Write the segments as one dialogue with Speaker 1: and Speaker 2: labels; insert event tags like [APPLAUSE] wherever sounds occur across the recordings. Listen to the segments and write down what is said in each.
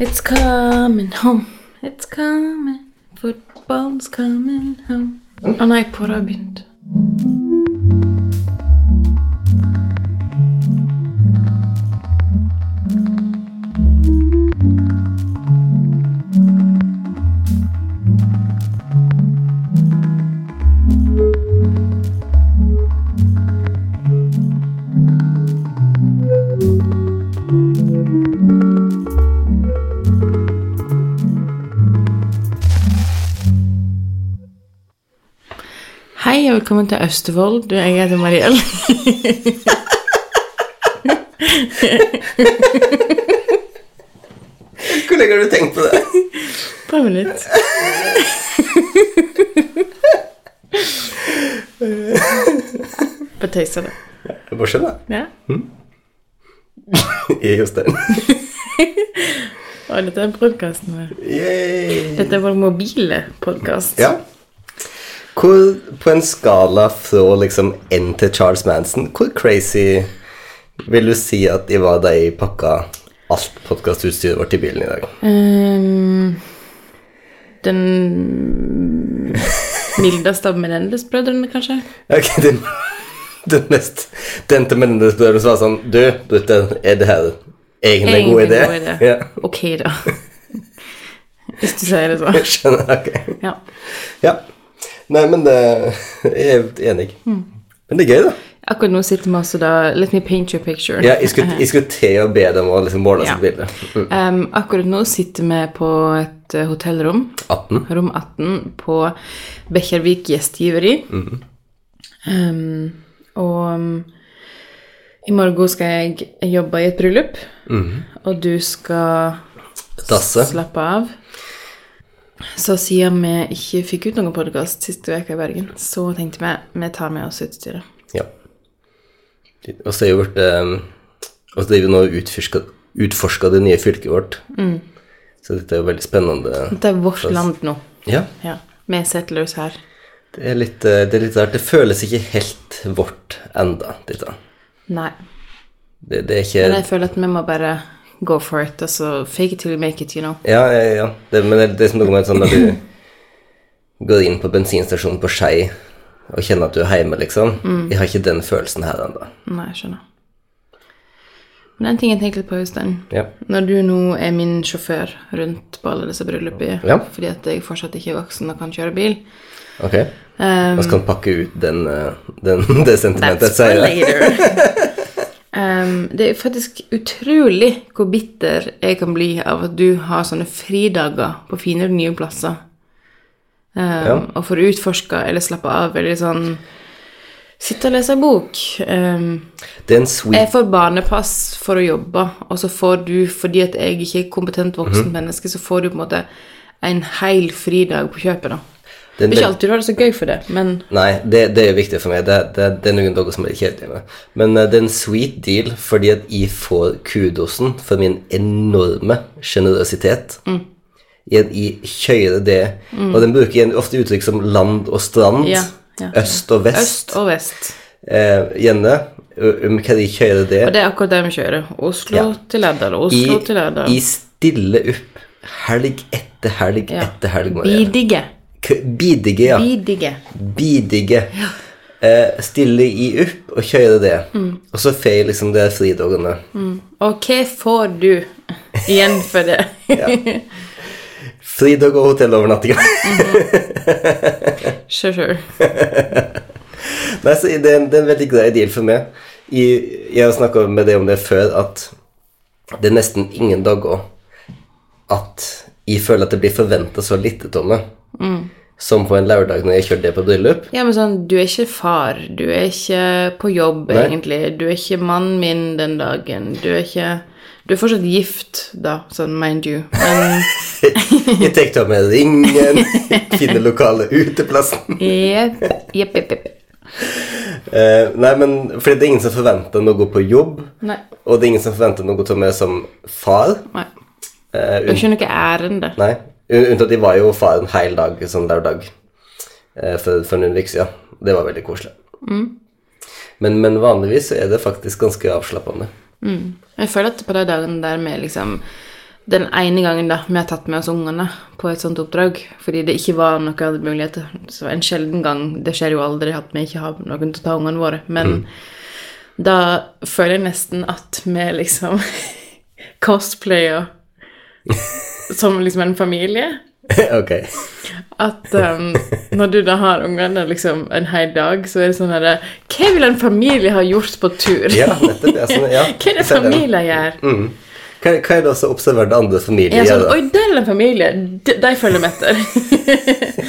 Speaker 1: It's coming home, it's coming, football's coming home. Å nei, kora har begynt. Hei og velkommen til Austevoll. Du, jeg heter Mariell. [LAUGHS]
Speaker 2: Hvor lenge har du tenkt på det?
Speaker 1: Prøv litt. [LAUGHS] Bare tøyser det.
Speaker 2: Jeg bare skjønner.
Speaker 1: Ja.
Speaker 2: Jeg er Jostein.
Speaker 1: Og dette er podkasten vår.
Speaker 2: Yay!
Speaker 1: Dette er vår mobile podkast.
Speaker 2: Ja. Hvor, på en skala fra liksom N til Charles Manson, hvor crazy vil du si at jeg var da jeg pakka alt podkastutstyret vårt i bilen i dag?
Speaker 1: Ehm, den mildeste av Menendez-brødrene, kanskje?
Speaker 2: Ok, [LAUGHS] den, den mest Den til menneskene som var sånn Du, dette er det her egentlig en god idé? Ja, [LAUGHS]
Speaker 1: Ok, da. Hvis du sier det så.
Speaker 2: jeg skjønner. Ok.
Speaker 1: Ja.
Speaker 2: Ja. Nei, men det Jeg er enig. Men det er gøy, da.
Speaker 1: Akkurat nå sitter vi altså da Let me paint your picture.
Speaker 2: Ja, jeg skulle, jeg skulle til å be dem å liksom måle
Speaker 1: Ja.
Speaker 2: sitt bilde. Mm.
Speaker 1: Em, Um, akkurat nå sitter vi på et eh, hotellrom,
Speaker 2: 18.
Speaker 1: rom 18, på Bekkjarvik gjestgiveri. Em, og em, i morgen skal jeg jobbe i et bryllup, og du skal
Speaker 2: Dasse.
Speaker 1: slappe av. Så siden vi ikke fikk ut noen podkast siste uke i Bergen, så tenkte vi vi tar med oss utstyret.
Speaker 2: Ja. Og så er jo vårt eh, Og så driver vi nå og utforsker, utforsker det nye fylket vårt.
Speaker 1: Mm.
Speaker 2: Så dette er jo veldig spennende.
Speaker 1: Det er vårt land nå.
Speaker 2: Ja.
Speaker 1: Ja. Vi er settlers her.
Speaker 2: Det er litt, eh, det er litt rart. Det føles ikke helt vårt enda, dette.
Speaker 1: Nei.
Speaker 2: Det, det er
Speaker 1: Men
Speaker 2: ikke
Speaker 1: jeg føler at vi må bare go for it, altså fake it till you make it, you know.
Speaker 2: Ja, ja, ja. Det, men det, det er som noe med sånn når du går inn på bensinstasjonen på Skei og kjenner at du er hjemme, liksom.
Speaker 1: Mm.
Speaker 2: Jeg har ikke den følelsen her ennå.
Speaker 1: Nei, jeg skjønner. Men en ting jeg tenkte litt på, Øystein.
Speaker 2: Ja.
Speaker 1: Når du nå er min sjåfør rundt på alle disse bryllupene,
Speaker 2: Ja.
Speaker 1: fordi at jeg fortsatt ikke er voksen og kan kjøre bil
Speaker 2: Ok.
Speaker 1: um,
Speaker 2: Man skal pakke ut den, eh, den, [LAUGHS] det sentimentet.
Speaker 1: That's
Speaker 2: Så
Speaker 1: for
Speaker 2: jeg,
Speaker 1: later.
Speaker 2: [LAUGHS]
Speaker 1: um, det er faktisk utrolig hvor bitter jeg kan bli av at du har sånne fridager på fine nye plasser. Um, Og får utforska eller slappe av eller sånn Sitte og lese en bok. Um,
Speaker 2: det er en sweet
Speaker 1: jeg får barnepass for å jobbe, og så får du, fordi at jeg ikke er kompetent voksen
Speaker 2: Mhm.
Speaker 1: menneske, så får du på en måte en hel fridag på kjøpet, da.
Speaker 2: det er
Speaker 1: Det
Speaker 2: en
Speaker 1: er ikke
Speaker 2: veld-
Speaker 1: alltid du har det så gøy for det, men
Speaker 2: Nei, det, det er viktig for meg. Det, det, det er noen dager som er litt kjedelige med. Men eh, det er en sweet deal fordi at jeg får kudosen for min enorme sjenerøsitet.
Speaker 1: Mm.
Speaker 2: Jeg, jeg kjører det. Og den bruker jeg ofte uttrykk som land og strand,
Speaker 1: Ja, ja.
Speaker 2: øst og vest.
Speaker 1: øst og vest.
Speaker 2: Eh, gjerne ø- om hva de kjører det.
Speaker 1: Og det er akkurat det vi kjører. Oslo
Speaker 2: Ja.
Speaker 1: til Lærdal, Oslo
Speaker 2: Jeg,
Speaker 1: til Lærdal.
Speaker 2: jeg stiller opp helg etter helg
Speaker 1: Ja.
Speaker 2: etter helg. Maria.
Speaker 1: Bidige.
Speaker 2: K- Bidige, ja.
Speaker 1: Bidige.
Speaker 2: bidige. Eh, stille i opp og kjøre det. Og så får jeg liksom de fridagene.
Speaker 1: Og hva får du igjen for det? [LAUGHS]
Speaker 2: Fridag og [LAUGHS] hotellovernattinger.
Speaker 1: Sure, sure.
Speaker 2: Nei, så det, er en- det er en veldig grei deal for meg. Jeg, jeg har snakka med deg om det før, at det er nesten ingen dager at jeg føler at det blir forventa så lite av meg. Som på en lørdag når jeg kjørte det på [LAUGHS] bryllup.
Speaker 1: Ja, men sånn, du er ikke far, du er ikke på jobb,
Speaker 2: Nei.
Speaker 1: egentlig. Du er ikke mannen min den dagen. Du er ikke Du er fortsatt gift, da, sånn mind you.
Speaker 2: [LAUGHS]
Speaker 1: Men
Speaker 2: Jeg tar av meg ringen, finner lokale uteplassen.
Speaker 1: jepp, jepp, jepp. jepp.
Speaker 2: Eh, nei, men fordi det er ingen som forventer noe på jobb.
Speaker 1: Nei.
Speaker 2: Og det er ingen som forventer noe av meg som far.
Speaker 1: Nei.
Speaker 2: Eh,
Speaker 1: Det er ikke noe ærende.
Speaker 2: Nei, un- unntatt de var jo far en hel dag, sånn lørdag, eh, for, for noen uker siden. Det var veldig koselig.
Speaker 1: Mm.
Speaker 2: Men, men vanligvis så er det faktisk ganske avslappende.
Speaker 1: Jeg føler at på de dagene der vi liksom den ene gangen da, vi har tatt med oss ungene på et sånt oppdrag, fordi det ikke var noen andre muligheter. Så en sjelden gang, det skjer jo aldri at vi ikke har noen til å ta ungene våre, men
Speaker 2: Mm.
Speaker 1: da føler jeg nesten at vi liksom [LAUGHS]
Speaker 2: [LAUGHS]
Speaker 1: cosplayer som liksom en familie.
Speaker 2: ok.
Speaker 1: At um, når du da har ungene liksom en hel dag, så er det sånn herre Hva vil en familie ha gjort på tur?
Speaker 2: Ja, nettopp. Ja, sånn, ja.
Speaker 1: [LAUGHS] Hva er det
Speaker 2: Ser den.
Speaker 1: familier gjør?
Speaker 2: Mm. Hva, hva er det også observert andre familier
Speaker 1: Jeg er
Speaker 2: gjør?
Speaker 1: sånn
Speaker 2: da?
Speaker 1: Oi, der er en familie! De, de følger med etter. [LAUGHS]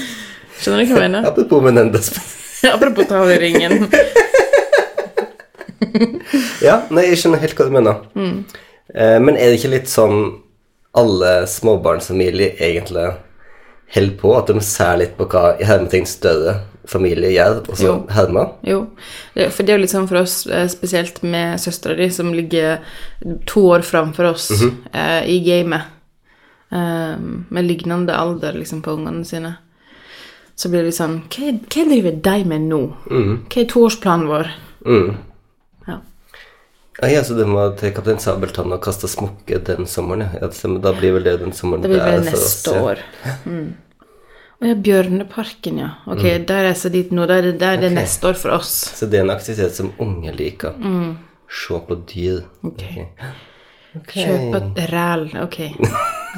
Speaker 1: Skjønner du hva jeg
Speaker 2: [LAUGHS]
Speaker 1: mener?
Speaker 2: Apropos Menendez.
Speaker 1: Apropos ta av deg ringen.
Speaker 2: Ja, nei, jeg skjønner helt hva du mener.
Speaker 1: Mm.
Speaker 2: Eh, men er det ikke litt sånn alle småbarnsfamilier egentlig holder på, at de ser litt på hva i hermetegn større familier gjør, og så
Speaker 1: Jo.
Speaker 2: hermer?
Speaker 1: Jo, det- for det er jo litt sånn for oss, eh, spesielt med søstera di, som ligger to år framfor oss eh, i gamet, eh, med lignende alder liksom på ungene sine, så blir det litt sånn Hva, hva driver de med nå? Hva er toårsplanen vår? Ja.
Speaker 2: Ah, ja, så det må til Kaptein Sabeltann og kaste smokke den sommeren, ja. ja. det stemmer. Da blir vel det den sommeren.
Speaker 1: Det blir
Speaker 2: er
Speaker 1: vel
Speaker 2: for oss,
Speaker 1: neste
Speaker 2: ja.
Speaker 1: år. Mm. Og ja, Bjørneparken, ja. Ok,
Speaker 2: Mm.
Speaker 1: der reiser dit nå. Der, der er det neste år for oss.
Speaker 2: Så det er en aktivitet som unge liker.
Speaker 1: Mm.
Speaker 2: Se på dyr. Ok. Ok.
Speaker 1: Kjøpe et ræl. Ok,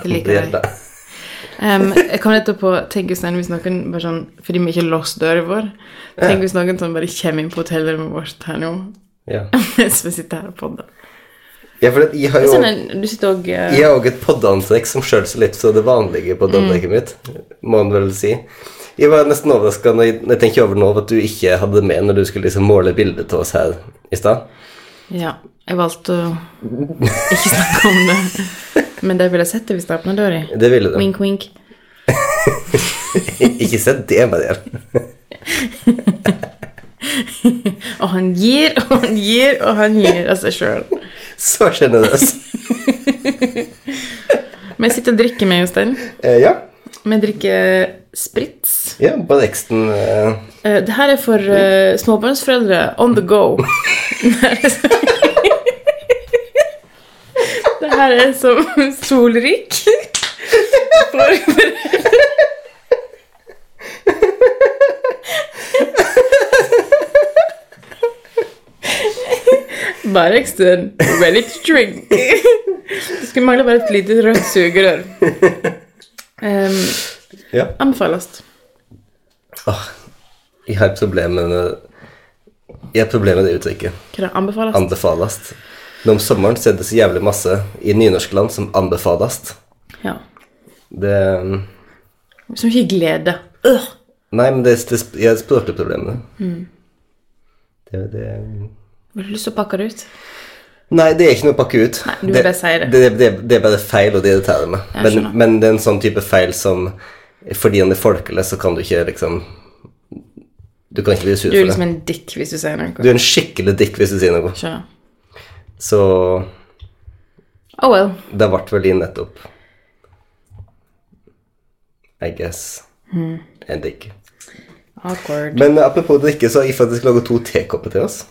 Speaker 1: det
Speaker 2: [LAUGHS]
Speaker 1: liker
Speaker 2: Det
Speaker 1: jeg.
Speaker 2: er da.
Speaker 1: Em, jeg kom nettopp på Tenk hvis noen, hvis noen bare sånn Fordi vi ikke har låst døra vår. Tenk hvis noen sånn bare kommer inn på hotellrommet vårt her nå [LAUGHS]
Speaker 2: Ja.
Speaker 1: mens vi sitter her og podder.
Speaker 2: ja, for at jeg har jo
Speaker 1: Sånn, en- du sitter eh, òg
Speaker 2: Jeg har òg et poddeantrekk som skjøler seg litt fra det vanlige poddeantrekket mitt. Må man vel si. Jeg var nesten overraska når jeg når jeg tenker over nå at du ikke hadde det med når du skulle liksom måle bildet til oss her i stad.
Speaker 1: Ja. Jeg valgte å ikke snakke om det.
Speaker 2: [LAUGHS]
Speaker 1: Men de ville sett det hvis de åpna døra.
Speaker 2: Det ville du.
Speaker 1: Wink, wink.
Speaker 2: ikke se det, Marianne.
Speaker 1: Og han gir, og han gir, og han gir av seg sjøl.
Speaker 2: Så sjenerøs.
Speaker 1: Men jeg sitter og drikker med Jostein.
Speaker 2: Eh, ja.
Speaker 1: Vi drikker Spritz.
Speaker 2: ja. Bare eksten eh.
Speaker 1: Eh, Det her er for eh, småbarnsforeldre on the go. det her er som solrik. For, bare en stund. Ready to drink. Skulle mangle bare et lite rødt sugerør. Um,
Speaker 2: Ja.
Speaker 1: anbefales.
Speaker 2: Åh, jeg har problemer med Jeg har problemer med det uttrykket.
Speaker 1: Hva er det? Anbefales?
Speaker 2: Anbefalast. Men om sommeren så er det så jævlig masse i nynorskland som anbefalast.
Speaker 1: ja.
Speaker 2: Det
Speaker 1: Som ikke glede. Øh.
Speaker 2: Nei, men det, det, jeg har språklige problemer.
Speaker 1: Mm.
Speaker 2: Det, det
Speaker 1: Har du lyst til å pakke det ut?
Speaker 2: Nei, det er ikke noe å pakke ut.
Speaker 1: Nei, du vil bare si det.
Speaker 2: Det, det, det er bare feil, og det irriterer meg.
Speaker 1: Jeg
Speaker 2: Men,
Speaker 1: skjønner.
Speaker 2: men det er en sånn type feil som Fordi han er folkelig, så kan du ikke liksom Du kan ikke bli sur
Speaker 1: Du er
Speaker 2: for
Speaker 1: liksom
Speaker 2: det.
Speaker 1: en dick hvis du sier noe.
Speaker 2: Du er en skikkelig dick hvis du sier noe.
Speaker 1: Skjønner.
Speaker 2: Så
Speaker 1: Oh well.
Speaker 2: det ble vel din nettopp. I guess.
Speaker 1: Mm.
Speaker 2: En dick.
Speaker 1: Awkward.
Speaker 2: Men apropos drikke, så har jeg faktisk laget to tekopper til oss.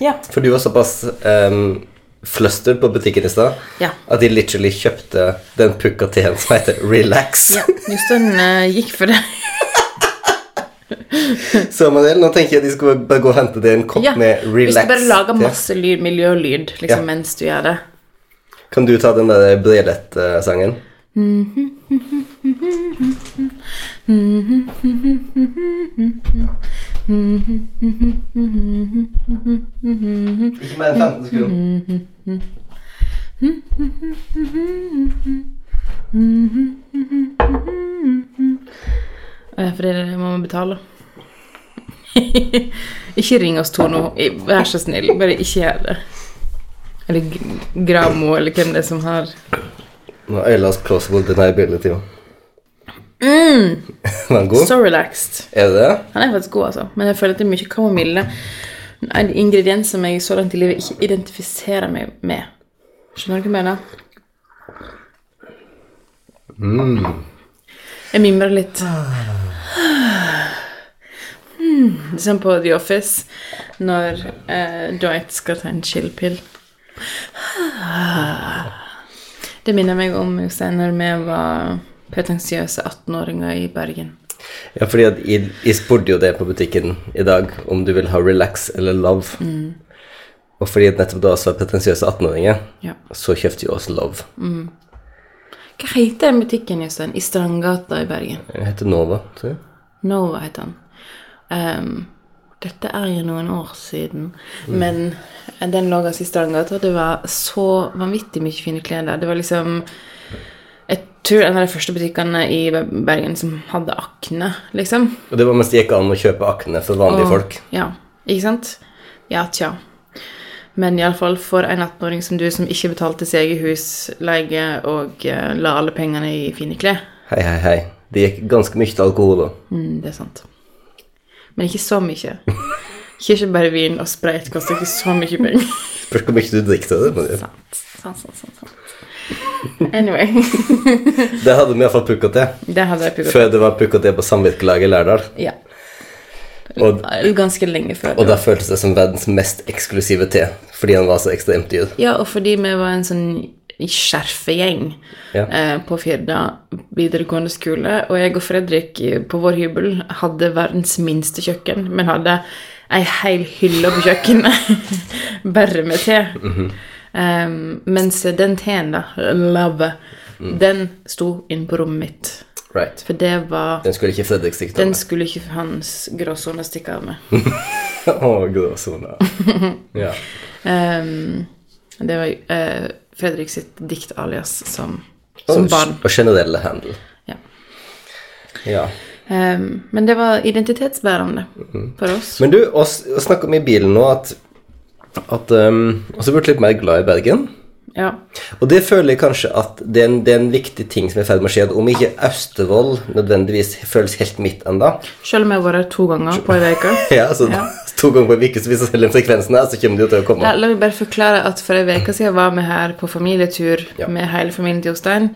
Speaker 1: Ja.
Speaker 2: For du var såpass um, flustered på butikken i stad
Speaker 1: Ja.
Speaker 2: at de literally kjøpte den pukka teen som heter Relax.
Speaker 1: [LAUGHS] ja. Jostein eh, gikk for det. [LAUGHS]
Speaker 2: Så Manuel, nå tenker jeg at de skal bare gå og hente deg en kopp
Speaker 1: Ja.
Speaker 2: med
Speaker 1: Hvis
Speaker 2: Relax.
Speaker 1: du bare lager
Speaker 2: te.
Speaker 1: masse lyd, miljølyd liksom,
Speaker 2: Ja.
Speaker 1: mens du gjør det.
Speaker 2: Kan du ta den der Brelett-sangen? Ikke mer enn 15 sekunder.
Speaker 1: Eh, For det må vi betale. [LAUGHS] ikke ring oss to nå. I- Vær så snill, bare ikke gjør det. Eller G- Gramo, eller hvem det er som har
Speaker 2: Nå er Ellas plausible deniability. jo.
Speaker 1: Mm.
Speaker 2: [LAUGHS] Var den god?
Speaker 1: So relaxed.
Speaker 2: Er det det?
Speaker 1: Han er faktisk god, altså. Men jeg føler at det er mye kamomille. En ingrediens som jeg så langt i livet ikke identifiserer meg med. Skjønner du hva jeg mener? Jeg mimrer litt. Hmm, Det er sånn på The Office når eh, Dwight skal ta en chillpill. Det minner meg om Jostein, når vi var pretensiøse 18-åringer i Bergen.
Speaker 2: Ja, fordi at jeg, jeg spurte jo det på butikken i dag, om du vil ha relax eller love. Og fordi at nettopp da også var pretensiøse 18-åringer,
Speaker 1: Ja.
Speaker 2: så kjøpte jeg også love.
Speaker 1: Hva heter den butikken, Jostein? I Strandgata i Bergen.
Speaker 2: Jeg heter Nova, tror jeg.
Speaker 1: Nova heter han. Ehm, dette er jo noen år siden,
Speaker 2: Mm.
Speaker 1: men den lå altså i Strandgata. og Det var så vanvittig mye fine klær der. Det var liksom Jeg tror en av de første butikkene i Bergen som hadde Akne, liksom.
Speaker 2: Og det var mens det gikk an å kjøpe akne for vanlige folk.
Speaker 1: Ja, ikke sant? Ja, tja. Men iallfall for en 18-åring som du, som ikke betalte sin egen husleie og eh, la alle pengene i fine klær.
Speaker 2: Hei, hei, hei. Det gikk ganske mye til alkohol da.
Speaker 1: Mm, det er sant. Men ikke så mye. Ikke, ikke bare vin og sprayt koster ikke så mye
Speaker 2: [LAUGHS]
Speaker 1: penger.
Speaker 2: Spørs hvor mye du drikker av det. men det-
Speaker 1: sant, sant, sant, sant, sant. Anyway. [LAUGHS]
Speaker 2: Det hadde vi iallfall pukka til.
Speaker 1: Det hadde jeg pugga.
Speaker 2: Før det var pukka til på samvirkelaget i Lærdal.
Speaker 1: Ja.
Speaker 2: Og,
Speaker 1: Ganske lenge før.
Speaker 2: og da føltes det som verdens mest eksklusive te, fordi han var så ekstremt dyr.
Speaker 1: Ja, og fordi vi var en sånn skjerfegjeng
Speaker 2: Ja.
Speaker 1: eh, på Firda videregående skole, og jeg og Fredrik eh, på vår hybel hadde verdens minste kjøkken, men hadde ei hel hylle på kjøkkenet [LAUGHS] bare med te. Em, mens den teen, da, love, den sto inne på rommet mitt.
Speaker 2: Right.
Speaker 1: For det var
Speaker 2: Den skulle ikke Fredrik stikke av
Speaker 1: Den
Speaker 2: med.
Speaker 1: skulle ikke hans gråsone stikke av med.
Speaker 2: Å, gråsona.
Speaker 1: [LAUGHS]
Speaker 2: Ja.
Speaker 1: Em, det var eh, Fredrik sitt diktalias som, som
Speaker 2: Og-
Speaker 1: barn.
Speaker 2: Og generelle handel.
Speaker 1: Ja.
Speaker 2: Ja.
Speaker 1: Ehm, men det var identitetsbærende
Speaker 2: Mm-hmm.
Speaker 1: for oss.
Speaker 2: Men du, oss snakka om i bilen nå at at um, Og så ble jeg litt mer glad i Bergen.
Speaker 1: Ja.
Speaker 2: Og det føler jeg kanskje at det er en, det er en viktig ting som er i ferd med å skje. At om ikke Austevoll nødvendigvis føles helt mitt ennå
Speaker 1: Selv om jeg har vært her to ganger på ei uke.
Speaker 2: ja, så To ganger på en uke, så hvis jeg selger den sekvensen her, så kommer det jo til å komme.
Speaker 1: La, la meg bare forklare at for ei uke siden var vi her på familietur
Speaker 2: Ja.
Speaker 1: med hele familien til Jostein.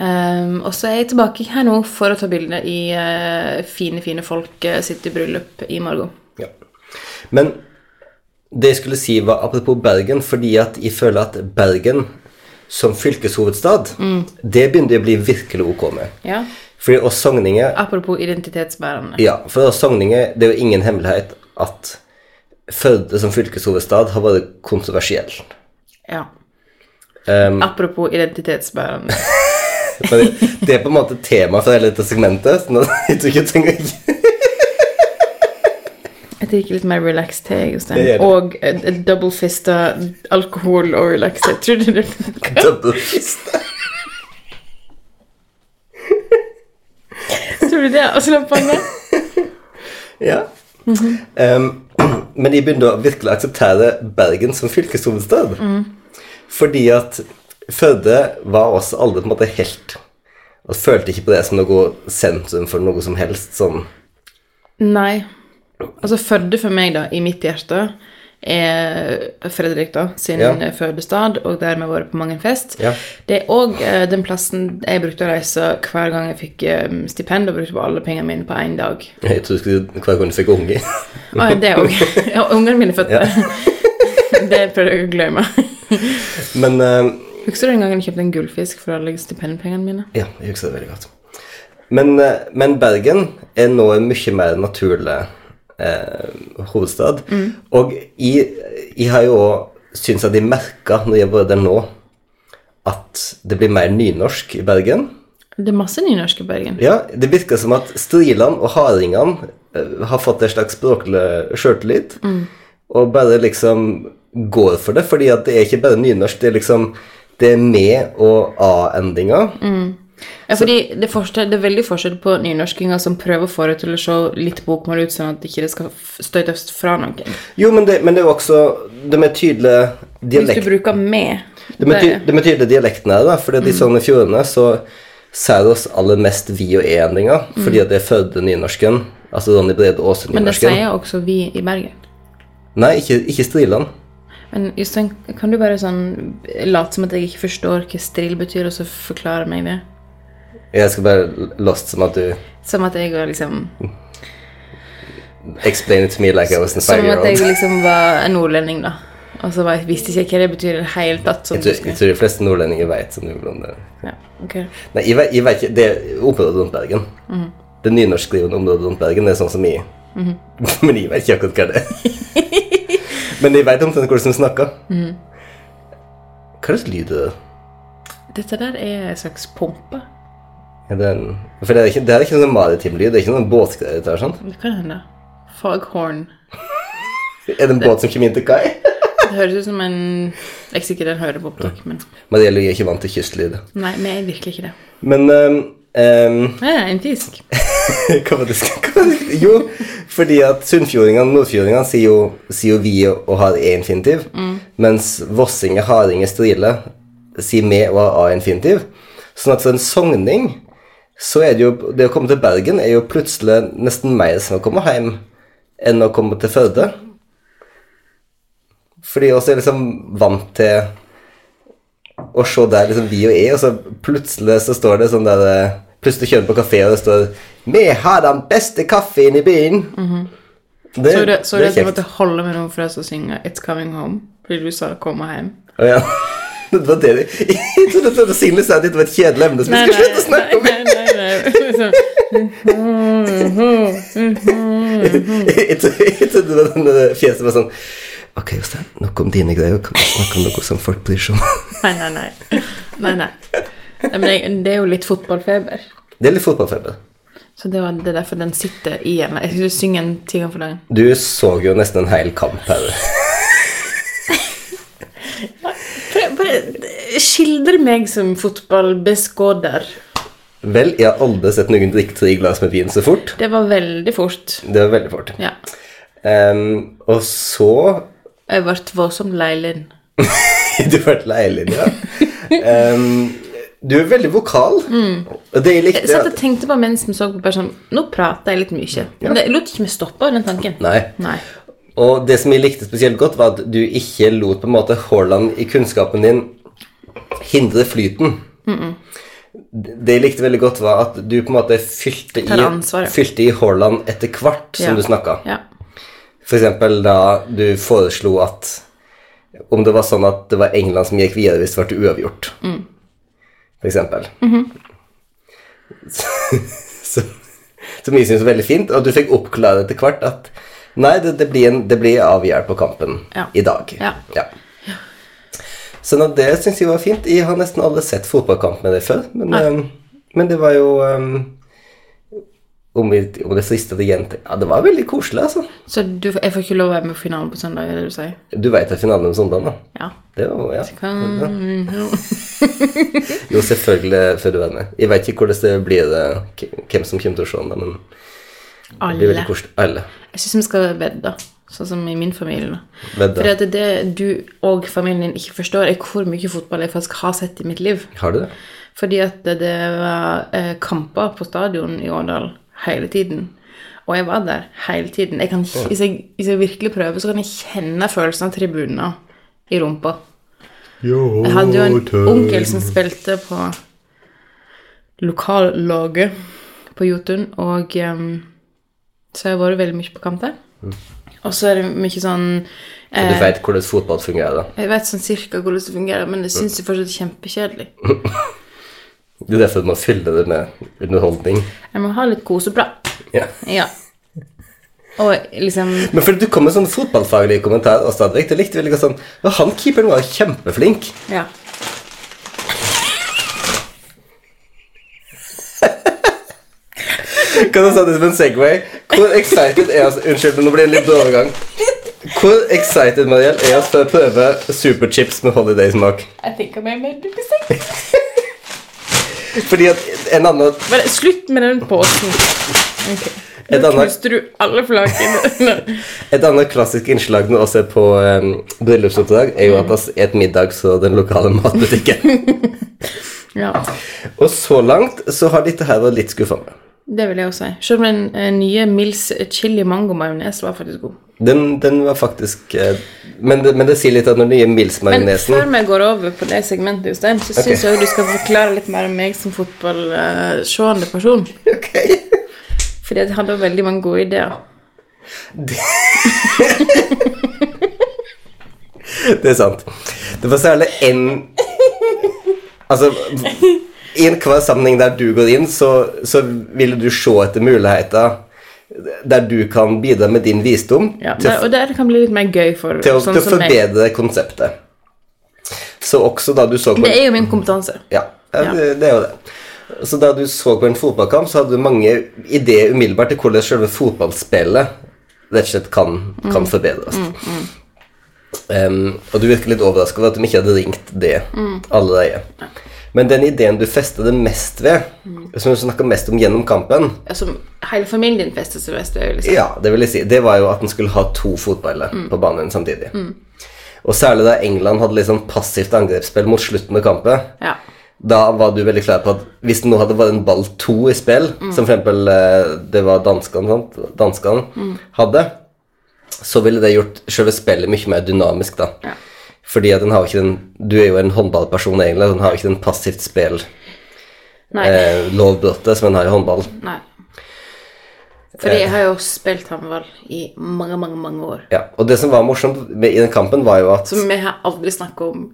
Speaker 1: Ehm, og så er jeg tilbake her nå for å ta bilde i eh, fine, fine folk eh, sitt i bryllup i morgen.
Speaker 2: Ja. Men det jeg skulle si var apropos Bergen, fordi at jeg føler at Bergen som fylkeshovedstad, det begynner jeg å bli virkelig ok med.
Speaker 1: Ja.
Speaker 2: Fordi oss sogninger
Speaker 1: Apropos identitetsbærende.
Speaker 2: Ja, for oss sogninger, det er jo ingen hemmelighet at Førde som fylkeshovedstad har vært kontroversiell.
Speaker 1: Ja.
Speaker 2: Ehm,
Speaker 1: Apropos identitetsbærende.
Speaker 2: Men det, det er på en måte tema for hele dette segmentet. Sånn at [LAUGHS] jeg tror ikke jeg trenger
Speaker 1: Jeg drikker litt mer relaxed te, Jostein.
Speaker 2: Det gjør du.
Speaker 1: Og eh, double fista alkohol og relaxed. Jeg trodde det [LAUGHS] funka.
Speaker 2: dobbeltfist.
Speaker 1: Tror du det? Og slapp panna?
Speaker 2: Ja. Em, [CLEARS THROAT] men jeg begynner å virkelig akseptere Bergen som fylkeshovedstad. Fordi at Førde var også aldri på en måte helt Og følte ikke på det som noe sentrum for noe som helst. Sånn.
Speaker 1: Nei. Altså, Førde for meg, da, i mitt hjerte, er Fredrik, da, sin
Speaker 2: Ja.
Speaker 1: fødestad, og der vi har vært på mange fest.
Speaker 2: Ja.
Speaker 1: Det er òg eh, den plassen jeg brukte å reise hver gang jeg fikk eh, stipend, og brukte på alle pengene mine på én dag.
Speaker 2: Jeg tror du skulle hver gang du fikk unge. [LAUGHS]
Speaker 1: Å, ja, det òg. Ja, ungene mine er født der. [LAUGHS] det prøvde jeg å glemme.
Speaker 2: Men em,
Speaker 1: Husker du den gangen jeg kjøpte en gullfisk for alle stipendpengene mine?
Speaker 2: Ja, jeg husker det veldig godt. Men, eh, men Bergen er nå en mye mer naturlig eh, hovedstad. Og jeg, jeg har jo òg syntes at jeg merka, når jeg har vært der nå, at det blir mer nynorsk i Bergen.
Speaker 1: Det er masse nynorsk i Bergen.
Speaker 2: Ja, Det virker som at Striland og hardingene eh, har fått en slags språklig sjøltillit. Og bare liksom går for det, fordi at det er ikke bare nynorsk. Det er liksom det er med- og a-endinger.
Speaker 1: Ja, fordi det, er forskjell, det er veldig forskjell på nynorskinger som prøver å få det til å se litt bokmål ut, sånn at ikke det skal f- støtes fra noen.
Speaker 2: Jo, men det, men det er jo også De er tydelige
Speaker 1: Hvis du
Speaker 2: dialekt,
Speaker 1: bruker 'med'
Speaker 2: de er ty,
Speaker 1: det-
Speaker 2: de er tydelige dialektene her, da. Fordi
Speaker 1: Mm.
Speaker 2: at i Sogn og Fjordane så sier det oss aller mest vi og e-endringer. Fordi at det er Førde nynorsken. Altså Ronny Brede Aase
Speaker 1: Mm. Men det
Speaker 2: nynorsken.
Speaker 1: sier også vi i Bergen.
Speaker 2: Nei, ikke, ikke Striland.
Speaker 1: Men Jostein, kan du bare sånn late som at jeg ikke forstår hva strill betyr, og så forklare meg det?
Speaker 2: Jeg skal bare lost som at du
Speaker 1: Som at jeg var liksom
Speaker 2: Explain it to me like I was a
Speaker 1: Som at jeg
Speaker 2: five-year-old.
Speaker 1: liksom var en nordlending, da. Og så bare visste ikke jeg hva det betyr i det hele tatt. Som
Speaker 2: Jeg tror,
Speaker 1: du
Speaker 2: jeg
Speaker 1: skal.
Speaker 2: tror de fleste nordlendinger veit som jubel om det.
Speaker 1: Ja, ok.
Speaker 2: Nei, jeg, vet- jeg vet ikke Det er området rundt Bergen. Det nynorskskrivende området rundt Bergen det er sånn som jeg. [LAUGHS] Men jeg vet ikke akkurat hva det er. Men jeg veit omtrent hvordan de snakker. Hva slags lyd er det?
Speaker 1: Dette der er en slags pumpe.
Speaker 2: Er det en, for det er ikke, det er ikke sånn maritim lyd. Det er ikke noen båtgreier. dette her, sant?
Speaker 1: Det kan hende. Foghorn.
Speaker 2: Er det en båt som kommer inn til kai?
Speaker 1: Det høres ut som en Jeg er sikker den hører på opptak, men
Speaker 2: Marie Louise er ikke vant til kystlyd.
Speaker 1: Nei, vi er virkelig ikke det.
Speaker 2: Men ehm, ehm,
Speaker 1: Nei, nei, en fisk.
Speaker 2: [LAUGHS] hva var det skal, hva var det? Jo, fordi at sunnfjordingene og nordfjordingene sier jo, sier jo vi og og har e infinitiv, mens vossinger, hardinger, strile sier me og har a infinitiv. Sånn at for en sogning så er det jo Det å komme til Bergen er jo plutselig nesten mer som å komme hjem enn å komme til Førde. Fordi oss er liksom vant til og se der liksom vi og jeg, og så plutselig så står det sånn der eh, Plutselig kjører du på kafé, og det står 'Vi har den beste kaffen i byen'. det,
Speaker 1: Så du så du Mhm.
Speaker 2: det
Speaker 1: at jeg
Speaker 2: er
Speaker 1: måtte
Speaker 2: kjekt.
Speaker 1: holde meg nå for å synge It's Coming Home? Fordi du sa 'komme hjem'?
Speaker 2: Å, ja. [LAUGHS] det var det de- [LAUGHS] Jeg trodde at Signe sa at dette var et kjedelig emne som vi skulle slutte å snakke om.
Speaker 1: nei, nei, nei. Liksom,
Speaker 2: [LAUGHS] Jeg trodde- jeg trodde det var den der fjeset var sånn Ok, Jostein, nok om dine greier. Kan vi snakke om noe som folk bryr seg om? [LAUGHS]
Speaker 1: Nei, nei, nei. nei, nei. nei men jeg, det er jo litt fotballfeber.
Speaker 2: Det er litt fotballfeber.
Speaker 1: Så det, var, det er derfor den sitter i henne. Jeg skulle synge en ti ganger for dagen.
Speaker 2: Du så jo nesten en hel kamp her.
Speaker 1: Bare, bare skildre meg som fotballbeskåder.
Speaker 2: Vel, jeg har aldri sett noen drikke tre glass med vin så fort.
Speaker 1: Det var veldig fort.
Speaker 2: Det var veldig fort.
Speaker 1: Ja.
Speaker 2: Ehm, og så [LAUGHS]
Speaker 1: Jeg ble voldsomt lei Linn.
Speaker 2: Du har vært leilig, ja. Ehm, du er veldig vokal. Og det jeg
Speaker 1: Jeg
Speaker 2: likte
Speaker 1: Mm. satt og tenkte på mens vi så på bare sånn Nå prater jeg litt mye. Men det lot ikke meg stoppe den tanken.
Speaker 2: Nei.
Speaker 1: Nei.
Speaker 2: Og det som jeg likte spesielt godt, var at du ikke lot på en måte Haaland i kunnskapen din hindre flyten. Det jeg likte veldig godt, var at du på en måte fylte i,
Speaker 1: Tar ansvar, ja.
Speaker 2: fylte i Haaland etter hvert som
Speaker 1: Ja.
Speaker 2: du snakka.
Speaker 1: Ja.
Speaker 2: For eksempel da du foreslo at om det var sånn at det var England som gikk videre hvis det ble uavgjort,
Speaker 1: Mm.
Speaker 2: for eksempel.
Speaker 1: Mhm.
Speaker 2: [LAUGHS] så, som jeg synes var veldig fint, og du fikk oppklare etter hvert at nei, det, det blir, en, det blir avgjort på kampen
Speaker 1: Ja.
Speaker 2: i dag.
Speaker 1: Ja.
Speaker 2: Så nå, det synes jeg var fint. Jeg har nesten aldri sett fotballkamp med deg før, men, ehm, men det var jo ehm, om, vi- om det frister til å gjenta Ja, det var veldig koselig, altså.
Speaker 1: Så du, jeg får ikke lov å være med i finalen på søndag, er det du sier?
Speaker 2: Du veit at finalen om søndagen, da?
Speaker 1: Ja.
Speaker 2: Det var, ja.
Speaker 1: Kan...
Speaker 2: Jo, selvfølgelig før du er med. Jeg veit ikke hvordan det blir, det, hvem som kommer til å se den, men det blir
Speaker 1: Alle.
Speaker 2: veldig koselig. Alle.
Speaker 1: Jeg syns vi skal vedde, sånn som i min familie.
Speaker 2: Vedde.
Speaker 1: For det, det du og familien din ikke forstår, er hvor mye fotball jeg faktisk har sett i mitt liv.
Speaker 2: Har du det?
Speaker 1: Fordi at det- det var eh, kamper på stadion i Årdal hele tiden. Og jeg var der hele tiden. Jeg kan, hvis, jeg, hvis jeg virkelig prøver, så kan jeg kjenne følelsen av tribuner i rumpa. Jeg hadde jo en onkel som spilte på lokallaget på Jotun, og em, så har jeg vært veldig mye på kamp der. Og så er det mye sånn
Speaker 2: Så du
Speaker 1: eh,
Speaker 2: veit hvordan fotball fungerer, da.
Speaker 1: Jeg vet sånn cirka hvordan det fungerer, men jeg syns det fortsatt er kjempekjedelig.
Speaker 2: Det er derfor man fyller det med underholdning.
Speaker 1: Jeg må ha litt koseprat.
Speaker 2: Ja.
Speaker 1: Ja. Og liksom
Speaker 2: Men fordi du kom med sånn fotballfaglig kommentar også, Adrik, det likte vi like sånn Og han keeperen var kjempeflink.
Speaker 1: Ja.
Speaker 2: Kan jeg si det som en Segway? Hvor excited er oss Unnskyld, men nå blir det en liten overgang. Hvor excited Mariel, er oss for å prøve superchips med holiday-smak?
Speaker 1: Jeg tenker meg mer duppiseng.
Speaker 2: Fordi at en annen
Speaker 1: Bare slutt med den posen. Ok.
Speaker 2: Et
Speaker 1: Nå
Speaker 2: annet-
Speaker 1: knuste du alle flakene.
Speaker 2: Et annet klassisk innslag når vi er på um, bryllupsoppdrag, er jo at vi et middag så den lokale matbutikken.
Speaker 1: ja.
Speaker 2: og så langt så har dette her vært litt skuffende.
Speaker 1: Det vil jeg også si. Selv om den eh, nye Mills chili mango majones var faktisk god.
Speaker 2: Den, den var faktisk eh, men, det, men det sier litt at når det gjelder
Speaker 1: Men før
Speaker 2: Mills-majonesen
Speaker 1: vi går over på det segmentet, Jostein, så synes syns jeg også du skal forklare litt mer om meg som fotballseende person.
Speaker 2: [LAUGHS] Ok.
Speaker 1: Fordi jeg hadde veldig mange gode ideer.
Speaker 2: Det er sant. Det var særlig en Altså, i enhver sammenheng der du går inn, så, så vil du se etter muligheter der du kan bidra med din visdom
Speaker 1: Ja,
Speaker 2: til,
Speaker 1: og der kan bli litt mer gøy for
Speaker 2: til, å-
Speaker 1: sånn
Speaker 2: til å
Speaker 1: som meg.
Speaker 2: forbedre konseptet. Så også da du så på
Speaker 1: Det er jo min kompetanse.
Speaker 2: Ja, ja,
Speaker 1: Ja.
Speaker 2: det, det er jo det. Så da du så på en fotballkamp, så hadde du mange ideer umiddelbart til hvordan selve fotballspillet rett og slett kan, kan forbedres. Em, og du virker litt overrasket over at de ikke hadde ringt det allerede. Men den ideen du festet det mest ved, som du snakket mest om gjennom kampen,
Speaker 1: Altså, hele familien fester seg best. det er jo Liksom.
Speaker 2: ja, det vil jeg si. Det var jo at en skulle ha to fotballer på banen samtidig. Og særlig da England hadde litt sånn passivt angrepsspill mot slutten av kampen,
Speaker 1: Ja.
Speaker 2: da var du veldig klar på at hvis det nå hadde vært en ball to i spill,
Speaker 1: Mm.
Speaker 2: som for eksempel eh, det var danskene, sant? danskene
Speaker 1: Mm.
Speaker 2: hadde, så ville det gjort selve spillet mye mer dynamisk, da.
Speaker 1: Ja.
Speaker 2: Fordi at den har jo ikke den Du er jo en håndballperson, egentlig. Den har jo ikke den passivt spill-lovbruddet
Speaker 1: Nei.
Speaker 2: Eh. som en har i håndball.
Speaker 1: nei.
Speaker 2: Eh.
Speaker 1: Fordi jeg har jo spilt håndball i mange, mange mange år.
Speaker 2: Ja. Og det som var morsomt med, i den kampen, var jo at
Speaker 1: Som vi har aldri snakka om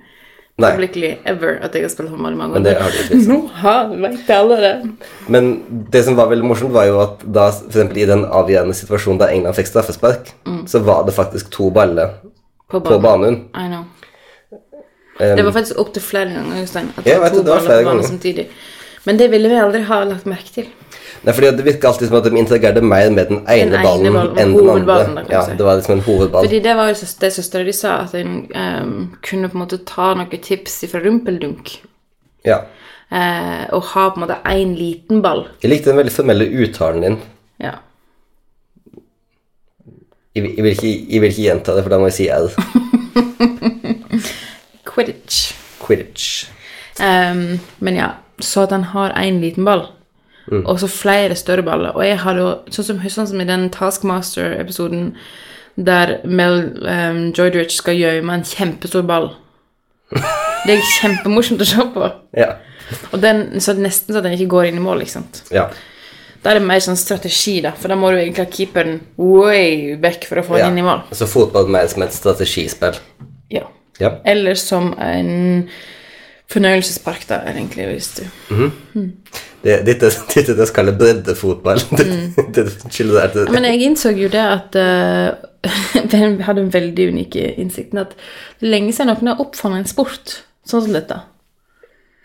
Speaker 2: Nei.
Speaker 1: publicly ever at jeg har spilt håndball i mange år.
Speaker 2: Men det liksom- har du ikke.
Speaker 1: [LAUGHS] Nå har veit alle det.
Speaker 2: Men det som var veldig morsomt, var jo at da, for eksempel i den avgjørende situasjonen der England fikk straffespark,
Speaker 1: Mm.
Speaker 2: så var det faktisk to baller
Speaker 1: På
Speaker 2: på banen.
Speaker 1: I know.
Speaker 2: Um,
Speaker 1: Det var faktisk opptil flere ganger, Jostein. At
Speaker 2: Ja,
Speaker 1: det var
Speaker 2: vet du,
Speaker 1: to
Speaker 2: det var
Speaker 1: baller
Speaker 2: flere
Speaker 1: på banen
Speaker 2: ganger.
Speaker 1: samtidig. Men det ville vi aldri ha lagt merke til.
Speaker 2: Nei, fordi Det virka alltid som at de interagerte mer med den ene
Speaker 1: ene
Speaker 2: ballen
Speaker 1: ballen,
Speaker 2: enn den
Speaker 1: hovedballen, da,
Speaker 2: andre.
Speaker 1: kan
Speaker 2: Ja,
Speaker 1: du si.
Speaker 2: det var liksom en hovedball.
Speaker 1: Fordi det var jo søs- det søstera di sa, at en ehm, kunne på en måte ta noen tips fra rumpeldunk.
Speaker 2: Ja.
Speaker 1: eh, og ha på en måte én liten ball.
Speaker 2: Jeg likte den veldig formelle uttalen din.
Speaker 1: Ja.
Speaker 2: Jeg vil- jeg vil ikke, jeg vil ikke gjenta det, for da må jeg si L.
Speaker 1: Quidditch.
Speaker 2: Quidditch.
Speaker 1: Ehm, men ja, så at han har én liten ball, og så flere større baller. Og jeg har jo, sånn som, sånn som i den Taskmaster-episoden der Mel um, Joydrich skal gjemme en kjempestor ball. Det er kjempemorsomt å se på.
Speaker 2: Ja.
Speaker 1: Og den, så det er nesten så at den ikke går inn i mål. ikke sant?
Speaker 2: ja.
Speaker 1: Da er det mer sånn strategi, da, for da må du egentlig ha keeperen way back for å få
Speaker 2: ja.
Speaker 1: den inn i mål.
Speaker 2: Så fotball mer som et strategispill.
Speaker 1: Ja.
Speaker 2: Ja.
Speaker 1: Eller som en fornøyelsespark, da, er egentlig, hvis du
Speaker 2: Det, dette, [LAUGHS] dette det skal jeg breddefotball.
Speaker 1: Mm.
Speaker 2: [LAUGHS] Det- det skylder deg til
Speaker 1: Men jeg innså jo det at eh, [LAUGHS] den hadde en veldig unik innsikt. At det er lenge siden noen har oppfunnet en sport sånn som dette.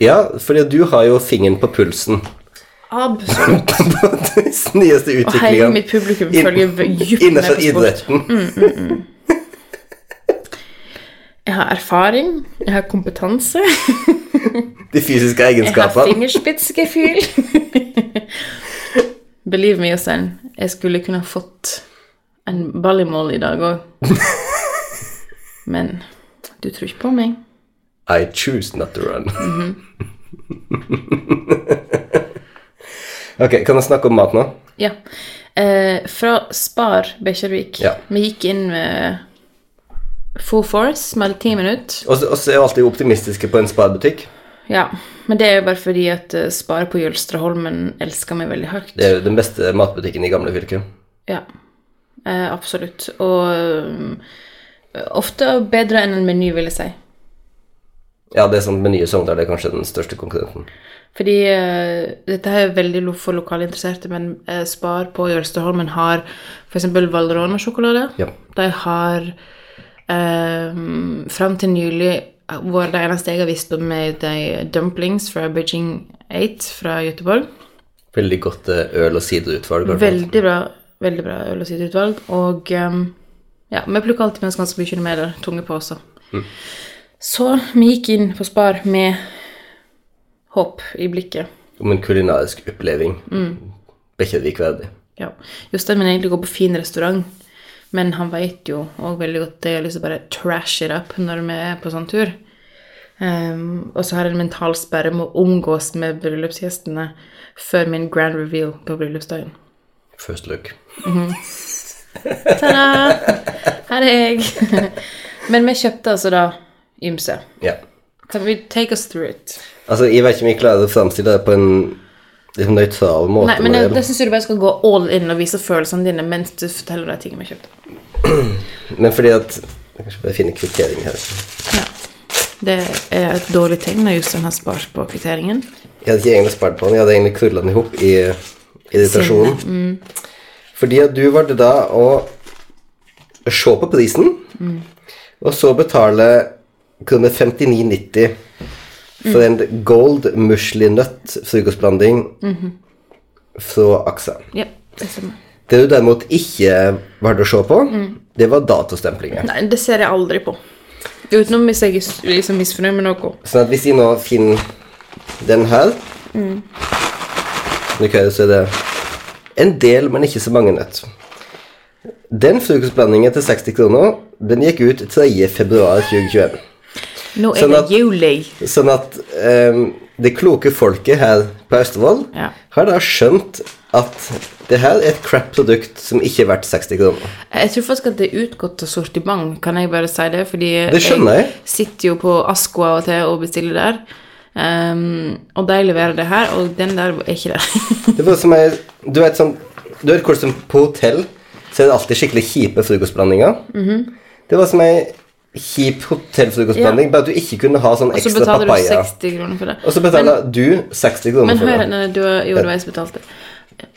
Speaker 2: Ja, fordi du har jo fingeren på pulsen. [LAUGHS]
Speaker 1: Absolutt.
Speaker 2: På den nyeste
Speaker 1: Og hele
Speaker 2: utviklinga
Speaker 1: mitt publikum
Speaker 2: Inn-
Speaker 1: følger dypt med
Speaker 2: innenfor
Speaker 1: på sport.
Speaker 2: idretten.
Speaker 1: Jeg har erfaring, jeg har kompetanse,
Speaker 2: De
Speaker 1: jeg
Speaker 2: fysiske
Speaker 1: har
Speaker 2: egenskapene.
Speaker 1: fingerspitzgefühl. [LAUGHS] Believe me, Jostein, jeg skulle kunne ha fått en ball i mål i dag
Speaker 2: [LAUGHS]
Speaker 1: òg. Men du tror ikke på meg.
Speaker 2: I choose not to run. [LAUGHS] ok, kan jeg snakke om mat nå?
Speaker 1: Ja. Eh, fra Spar Bekkjarvik.
Speaker 2: Ja.
Speaker 1: Vi gikk inn med full force, vi hadde ti minutter.
Speaker 2: Og så og så er vi alltid optimistiske på en sparebutikk.
Speaker 1: Ja, men det er jo bare fordi at eh, Spar på Jølstraholmen elsker meg veldig høyt.
Speaker 2: Det er jo den beste matbutikken i gamle fylket.
Speaker 1: Ja, eh, absolutt. Og um, ofte bedre enn en meny, vil jeg si.
Speaker 2: Ja, det er sånn med nye Sogndal det er kanskje den største konkurrenten.
Speaker 1: Fordi eh, dette her er veldig lo- for lokalinteresserte, men eh, Spar på Jølsterholmen har f.eks. Valderona-sjokolade.
Speaker 2: Ja.
Speaker 1: De har eh, fram til nylig vært det eneste jeg har visst om, er de dumplings fra Beijing 8 fra Göteborg.
Speaker 2: Veldig godt eh, øl- og siderutvalg. i hvert fall.
Speaker 1: Veldig bra, veldig bra øl- og siderutvalg. Og ehm, ja, vi plukker alltid med oss ganske mye med der, tunge på også. Så vi gikk inn på Spar med håp i blikket.
Speaker 2: Om en kulinarisk oppleving.
Speaker 1: Mm.
Speaker 2: Bekkjarvik verdig.
Speaker 1: Ja. Jostein vil egentlig gå på fin restaurant, men han vet jo òg veldig godt det å liksom bare trash it up når vi er på sånn tur. Ehm, og så har jeg en mental sperre med å omgås med bryllupsgjestene før min grand reveal på bryllupsdagen.
Speaker 2: First look.
Speaker 1: Ta-da! Her er jeg. [LAUGHS] men vi kjøpte altså da ymse.
Speaker 2: Ja.
Speaker 1: Can we take us through it?
Speaker 2: Altså, jeg vet ikke om jeg klarer å fremstille det på en liksom, nøytral måte.
Speaker 1: Nei, men
Speaker 2: når
Speaker 1: jeg,
Speaker 2: det
Speaker 1: jeg syns du bare skal gå all in og vise følelsene dine mens du forteller de tingene vi kjøpte.
Speaker 2: Men fordi at Jeg kan ikke bare finne kvittering her.
Speaker 1: Ja. Det er et dårlig tegn når Jostein har spart på kvitteringen.
Speaker 2: Jeg hadde ikke egentlig spart på den, jeg hadde egentlig kurla den i hop i irritasjonen. Fordi at du valgte da å se på prisen, og så betale kroner 59,90 for en gold muslinøtt frokostblanding fra AXA.
Speaker 1: Ja, det stemmer.
Speaker 2: Det du derimot ikke valgte å se på, det var datostemplingen.
Speaker 1: Nei, det ser jeg aldri på. Utenom hvis jeg er liksom misfornøyd med noe.
Speaker 2: Sånn at hvis jeg nå finner den her Nå kan jeg se det En del, men ikke så mange nøtt. Den frokostblandingen til 60 kroner, den gikk ut 3. februar 2021.
Speaker 1: Nå er
Speaker 2: Sånn at-
Speaker 1: det juli.
Speaker 2: Sånn at ehm, det kloke folket her på Østfold
Speaker 1: Ja.
Speaker 2: har da skjønt at det her er et crap produkt som ikke er verdt 60 kroner.
Speaker 1: Jeg tror faktisk at det er utgått av sortiment, kan jeg bare si det. Fordi
Speaker 2: Det skjønner jeg.
Speaker 1: sitter jo på Asko av og til og bestiller der. Ehm, og de leverer det her, og den der er ikke der. [LAUGHS]
Speaker 2: Det var som ei Du vet sånn Du vet hvordan som på hotell så er det alltid skikkelig kjipe frokostblandinger.
Speaker 1: Mhm.
Speaker 2: Det var som ei kjip hotellfrokostblanding, bare at du ikke kunne ha sånn
Speaker 1: Og så
Speaker 2: ekstra
Speaker 1: betaler du
Speaker 2: papaya.
Speaker 1: 60 kroner for det.
Speaker 2: Og så betaler du 60 kroner
Speaker 1: Men
Speaker 2: for
Speaker 1: hør,
Speaker 2: det.
Speaker 1: nei, du, jo, det var jeg som betalte.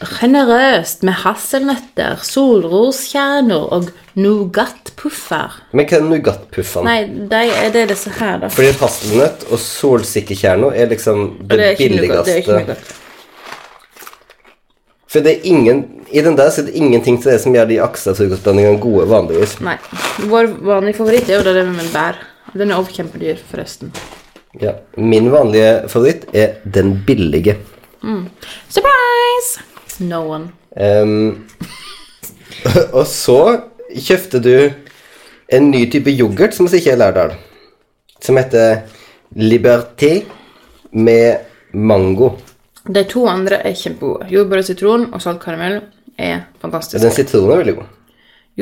Speaker 1: Generøst med hasselnøtter, solroskjerner og nougatpuffer.
Speaker 2: Men hva er nougatpuffene?
Speaker 1: Nei, de, er det disse her, da?
Speaker 2: Fordi hasselnøtt og solsikkekjerner er liksom det,
Speaker 1: det er ikke nougat, det er ikke
Speaker 2: billigste.
Speaker 1: nougat.
Speaker 2: For det er ingen I den der så er det ingenting til det som gjør de aksa-frokostblandingene gode vanligvis.
Speaker 1: Nei. Vår vanlige favoritt er jo det med bær. Den er også kjempedyr, forresten.
Speaker 2: Ja. Min vanlige favoritt er den billige.
Speaker 1: Surprise! No one.
Speaker 2: Ehm, [LAUGHS] og så kjøpte du en ny type yoghurt som vi ikke er i Lærdal. Som heter Liberté med mango.
Speaker 1: De to andre er kjempegode. Jordbær og sitron og saltkaramell er fantastisk.
Speaker 2: Den sitronen er veldig god.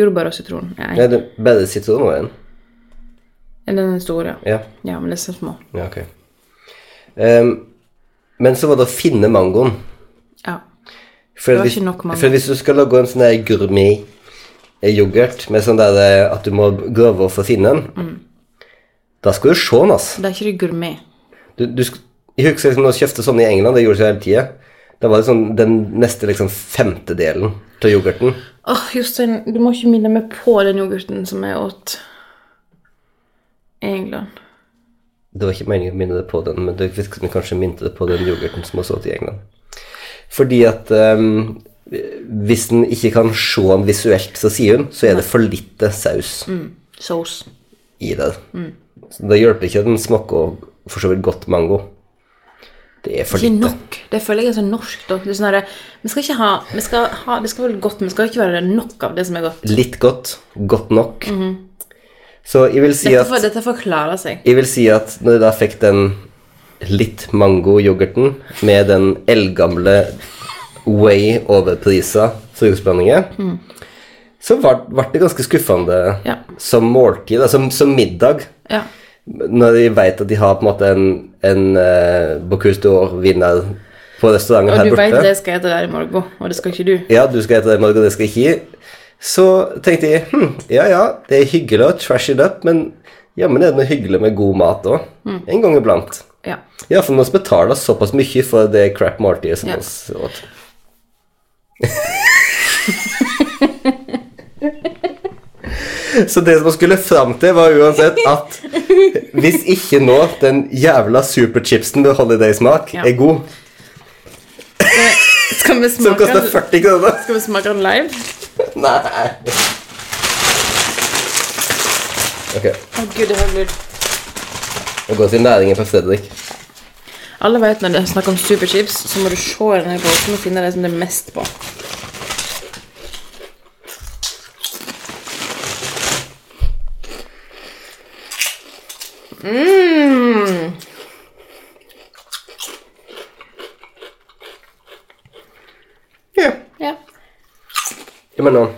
Speaker 1: Jordbær og sitron er
Speaker 2: Nei,
Speaker 1: en.
Speaker 2: det er bare sitronen var en.
Speaker 1: Er den store?
Speaker 2: Ja,
Speaker 1: Ja, men disse er små.
Speaker 2: ja ok. Ehm, men så var det å finne mangoen.
Speaker 1: Ja.
Speaker 2: For,
Speaker 1: Det var
Speaker 2: hvis,
Speaker 1: ikke nok mango.
Speaker 2: for hvis du skal lage en sånn der gourmet eh, yoghurt med sånn der eh, at du må grave for å finne den,
Speaker 1: Mm.
Speaker 2: da skal du se den, altså.
Speaker 1: Det er ikke det gourmet.
Speaker 2: Du, du, sk- jeg husker liksom når jeg kjøpte sånne i England, det gjorde jeg hele tida. Da var det sånn den neste liksom femtedelen av yoghurten.
Speaker 1: Åh, Jostein, du må ikke minne meg på den yoghurten som jeg åt i England.
Speaker 2: Det var ikke meningen å minne deg på den, men du kunne kanskje minne deg på den yoghurten som har stått i England. Fordi at ehm, hvis den ikke kan se den visuelt, så sier hun, så er det for lite saus.
Speaker 1: Mm. Saus.
Speaker 2: i det.
Speaker 1: Mm.
Speaker 2: Så det hjelper ikke at den smaker for så vidt godt mango. Det er for
Speaker 1: Ikke
Speaker 2: lite.
Speaker 1: nok. Det føler jeg er så norsk, da. Det er sånn herre Vi skal ikke ha Vi skal ha Det skal være godt, men det skal ikke være nok av det som er godt.
Speaker 2: Litt godt, godt nok. Så jeg vil si
Speaker 1: Mm-hmm. Dette,
Speaker 2: at,
Speaker 1: får- dette forklarer seg.
Speaker 2: jeg vil si at når jeg da fikk den litt mango-yoghurten med den eldgamle way overprisa frokostblandingen, så ble det ganske skuffende
Speaker 1: Mm. Ja.
Speaker 2: som måltid, da, som, som middag.
Speaker 1: Ja.
Speaker 2: Når de vet at de har på en måte en, en eh, Bocuse d'Or-vinner på restauranten
Speaker 1: Og
Speaker 2: her
Speaker 1: du veit
Speaker 2: borte
Speaker 1: det skal jeg hete der i morgen, og det skal ikke du.
Speaker 2: Ja, du skal hete det, Margot, det skal ikke gi. Så tenkte jeg hm, ja ja, det er hyggelig å trash it up, men jammen er det noe hyggelig med god mat òg.
Speaker 1: Mm.
Speaker 2: En gang iblant.
Speaker 1: Ja.
Speaker 2: Iallfall når vi betaler såpass mye for det crap måltidet som
Speaker 1: Ja.
Speaker 2: oss åt. Så det som vi skulle fram til, var uansett at hvis ikke nå den jævla superchipsen med holiday-smak
Speaker 1: Ja.
Speaker 2: er god,
Speaker 1: Skal vi
Speaker 2: som
Speaker 1: smake
Speaker 2: koster
Speaker 1: den,
Speaker 2: 40 kroner
Speaker 1: skal vi smake den live?
Speaker 2: Nei. Ok,
Speaker 1: Å gud, det her blir
Speaker 2: nå går vi til næringen på Fredrik.
Speaker 1: Alle vet når det er snakk om superchips, så må du se i denne posen og finne det som det er mest på. Mm.
Speaker 2: Ja.
Speaker 1: Ja.
Speaker 2: Jeg mener,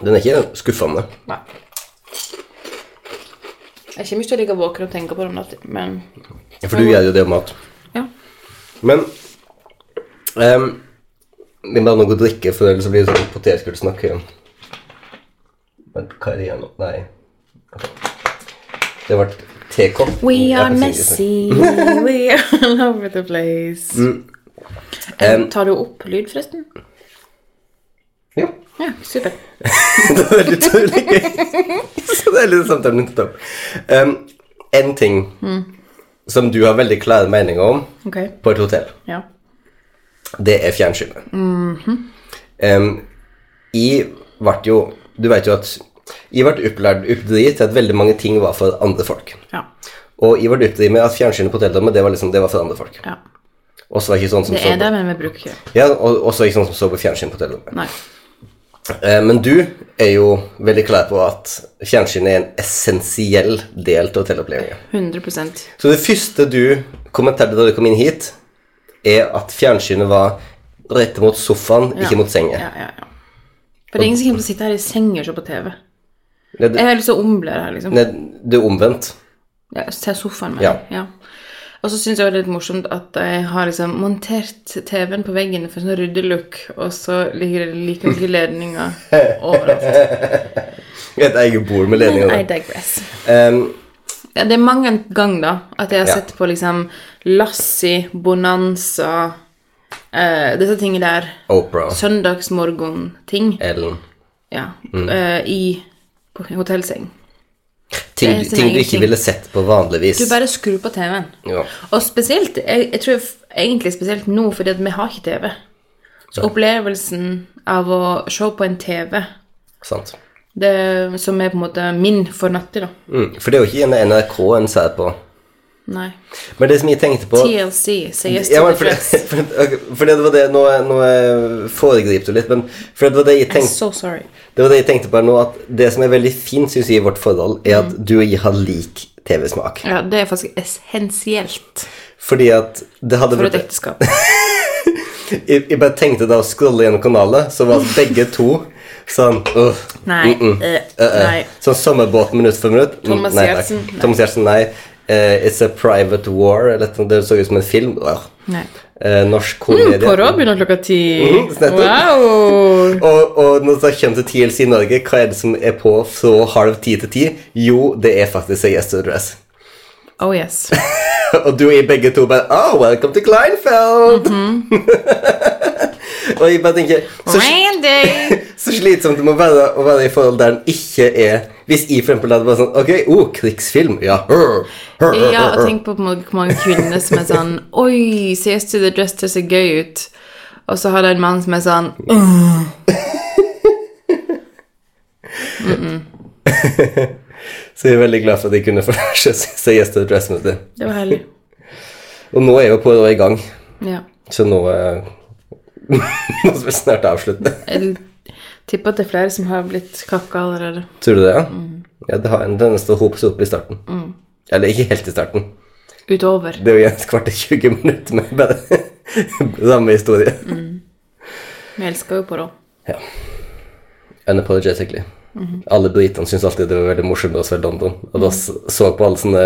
Speaker 2: den er ikke skuffende.
Speaker 1: Nei. Jeg kommer ikke til å ligge våken og tenke på det om natten, men
Speaker 2: For du gjør jo det om mat.
Speaker 1: ja.
Speaker 2: Men ehm, Vi må ha noe å drikke, for ellers så blir det sånn potetgullsnakk igjen. Men hva er det igjen nå? Nei. Det ble tekopp.
Speaker 1: We are
Speaker 2: Appelsin-
Speaker 1: messy, [LAUGHS] we are all over the place. Eh, tar du opp lyd, forresten?
Speaker 2: Ehm, Ja. [LAUGHS]
Speaker 1: Ja, super.
Speaker 2: det er veldig tydelig Så det er litt sånn samtalen rundt opp. Um, en ting
Speaker 1: Mm.
Speaker 2: som du har veldig klare meninger om
Speaker 1: Ok.
Speaker 2: på et hotell,
Speaker 1: Ja.
Speaker 2: det er fjernsynet. um, jeg ble jo Du vet jo at jeg ble opplært oppdratt til at veldig mange ting var for andre folk.
Speaker 1: Ja.
Speaker 2: Og jeg ble oppdratt med at fjernsynet på hotellrommet det var, liksom, det var for andre folk.
Speaker 1: ja.
Speaker 2: Og så var jeg ikke sånn som
Speaker 1: Det
Speaker 2: så
Speaker 1: er det, men vi bruker ikke det.
Speaker 2: på- Ja, og, og så var jeg ikke sånn som så på fjernsyn på hotellrommet.
Speaker 1: Nei.
Speaker 2: Eh, Men du er jo veldig klar på at fjernsynet er en essensiell del av hotellopplevelsen.
Speaker 1: 100
Speaker 2: Så det første du kommenterte da du kom inn hit, er at fjernsynet var rett mot sofaen,
Speaker 1: Ja.
Speaker 2: ikke mot senga.
Speaker 1: Ja, ja, ja. For det er ingen som kommer til å sitte her i senger og se på TV.
Speaker 2: Det, det,
Speaker 1: Jeg har lyst til å omble det her, liksom.
Speaker 2: det, det er omvendt.
Speaker 1: Ja, til sofaen min.
Speaker 2: Ja.
Speaker 1: Ja. Og så syns jeg også det er litt morsomt at jeg har liksom montert TV-en på veggen for sånn ryddelook, og så ligger det like mye ledninger
Speaker 2: [LAUGHS]
Speaker 1: overalt.
Speaker 2: Et eget bord med ledning.
Speaker 1: Men I
Speaker 2: og det.
Speaker 1: digress.
Speaker 2: Ehm,
Speaker 1: Ja, det er mang en gang, da, at jeg har
Speaker 2: Ja.
Speaker 1: sett på liksom Lassi, Bonanza eh, Disse tingene der.
Speaker 2: Oprah,
Speaker 1: Søndagsmorgen-ting.
Speaker 2: Ellen
Speaker 1: Ja.
Speaker 2: Mm.
Speaker 1: eh, I på hotellseng.
Speaker 2: Ting,
Speaker 1: Det er sin
Speaker 2: ting du
Speaker 1: egen
Speaker 2: ikke
Speaker 1: ting.
Speaker 2: ville sett på vanligvis.
Speaker 1: Du bare skrur på TV-en.
Speaker 2: Ja.
Speaker 1: Og spesielt, jeg, jeg tror f- egentlig spesielt nå, fordi at vi har ikke TV. Så opplevelsen av å se på en TV,
Speaker 2: Sant.
Speaker 1: det, som er på en måte min for natta, da.
Speaker 2: Mm. For det er jo ikke en NRK en ser på.
Speaker 1: Nei.
Speaker 2: Men det som jeg tenkte på
Speaker 1: TLC, say yes
Speaker 2: Ja,
Speaker 1: to
Speaker 2: men
Speaker 1: the
Speaker 2: for,
Speaker 1: dress.
Speaker 2: [LAUGHS] det, for, det- ok, for det var det Nå, nå eh, foregriper du litt, men for det var det, jeg
Speaker 1: I'm
Speaker 2: tenkte,
Speaker 1: so sorry.
Speaker 2: det var det jeg tenkte på her nå, at det som er veldig fint, syns jeg, i vårt forhold, er
Speaker 1: Mm.
Speaker 2: at du og jeg har lik TV-smak.
Speaker 1: Ja, det er faktisk essensielt
Speaker 2: Fordi at det hadde
Speaker 1: for et
Speaker 2: vært
Speaker 1: ekteskap.
Speaker 2: jeg, jeg bare tenkte da å scrolle gjennom kanalet, så var begge to sånn øh,
Speaker 1: [LAUGHS] Nei.
Speaker 2: mm, mm,
Speaker 1: eh,
Speaker 2: øh, øh.
Speaker 1: nei.
Speaker 2: Sånn Sommerbåt minutt for minutt. mm,
Speaker 1: Thomas
Speaker 2: nei, takk.
Speaker 1: Gjertsen, nei.
Speaker 2: Thomas Gjertsen, nei. Eh, it's a Private War, eller noe sånt. det så ut som en film. Øh.
Speaker 1: Nei.
Speaker 2: Eh, norsk
Speaker 1: Mm,
Speaker 2: komedie.
Speaker 1: På Rå begynner klokka ti.
Speaker 2: Mhm, nettopp. [LAUGHS]
Speaker 1: Wow!
Speaker 2: Og, og når det kommer til TLC i Norge, hva er det som er på fra halv ti til ti? Jo, det er faktisk Say Yes to the Dress. [LAUGHS]
Speaker 1: Oh yes.
Speaker 2: og du og jeg begge to bare Oh, welcome to Kleinfeld!
Speaker 1: Mhm.
Speaker 2: [LAUGHS] og jeg bare tenker så,
Speaker 1: Randy!
Speaker 2: så slitsomt det må være å være i forhold der den ikke er Hvis jeg for eksempel hadde vært sånn Ok, oh, krigsfilm. Ja. Hør, hør, hør,
Speaker 1: Ja, og
Speaker 2: hør.
Speaker 1: tenk på hvor mange- hvor mange kvinner som er sånn Oi, CS to the dress, det ser gøy ut. Og så har du en mann som er sånn «Åh,
Speaker 2: Så jeg er veldig glad for at jeg kunne få [LAUGHS] Say Yes to the Dress med det.
Speaker 1: Det var herlig.
Speaker 2: Og nå er jo på i gang,
Speaker 1: Ja.
Speaker 2: så nå eh, [LAUGHS] Nå skal vi snart avslutte.
Speaker 1: Jeg tipper at det er flere som har blitt kakka allerede.
Speaker 2: Tror du det, ja? Ja, det har en tendens til å hope seg opp i starten. Eller ikke helt i starten.
Speaker 1: Utover.
Speaker 2: Det er jo et kvart til 20 minutter med bare [LAUGHS] samme historie.
Speaker 1: Vi elsker jo på det.
Speaker 2: Unapologetically. Alle britene syns alltid det var veldig morsomt med oss fra London. Og da s- så på alle sånne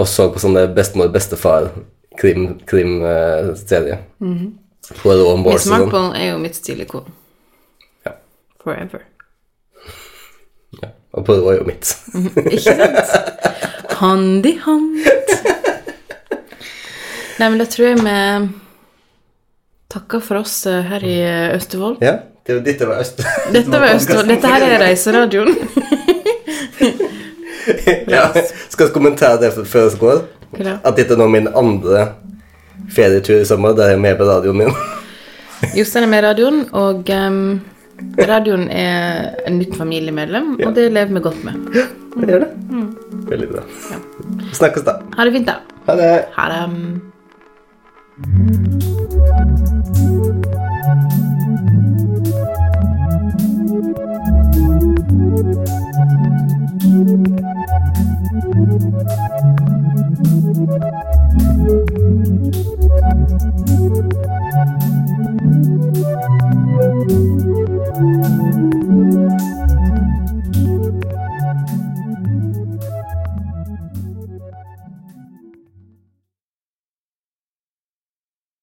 Speaker 2: Og så på sånne bestemor, bestefar krim, krimserier. Mm. Poirot og
Speaker 1: Miss
Speaker 2: Morse og sånn.
Speaker 1: Marple er jo mitt stilikon.
Speaker 2: Ja.
Speaker 1: Forever.
Speaker 2: Og Poirot er jo mitt.
Speaker 1: Ikke sant? Hand i hand. Nei, men da tror jeg vi takker for oss eh, her i eh, Østfold.
Speaker 2: [LAUGHS] Ja, det var dette var [LAUGHS] Øst.
Speaker 1: Dette var Østfold. Dette her er Reiseradioen.
Speaker 2: ja. Skal vi kommentere det før vi går?
Speaker 1: Hva da?
Speaker 2: At dette er nå min andre ferietur i sommer, der jeg er med på radioen min.
Speaker 1: Jostein er med i radioen, og em, radioen er et nytt familiemedlem, og det lever vi godt med.
Speaker 2: Jeg gjør det. Mm. Veldig bra. Snakkes da.
Speaker 1: Ha det fint, da.
Speaker 2: Ha det.
Speaker 1: Ha det.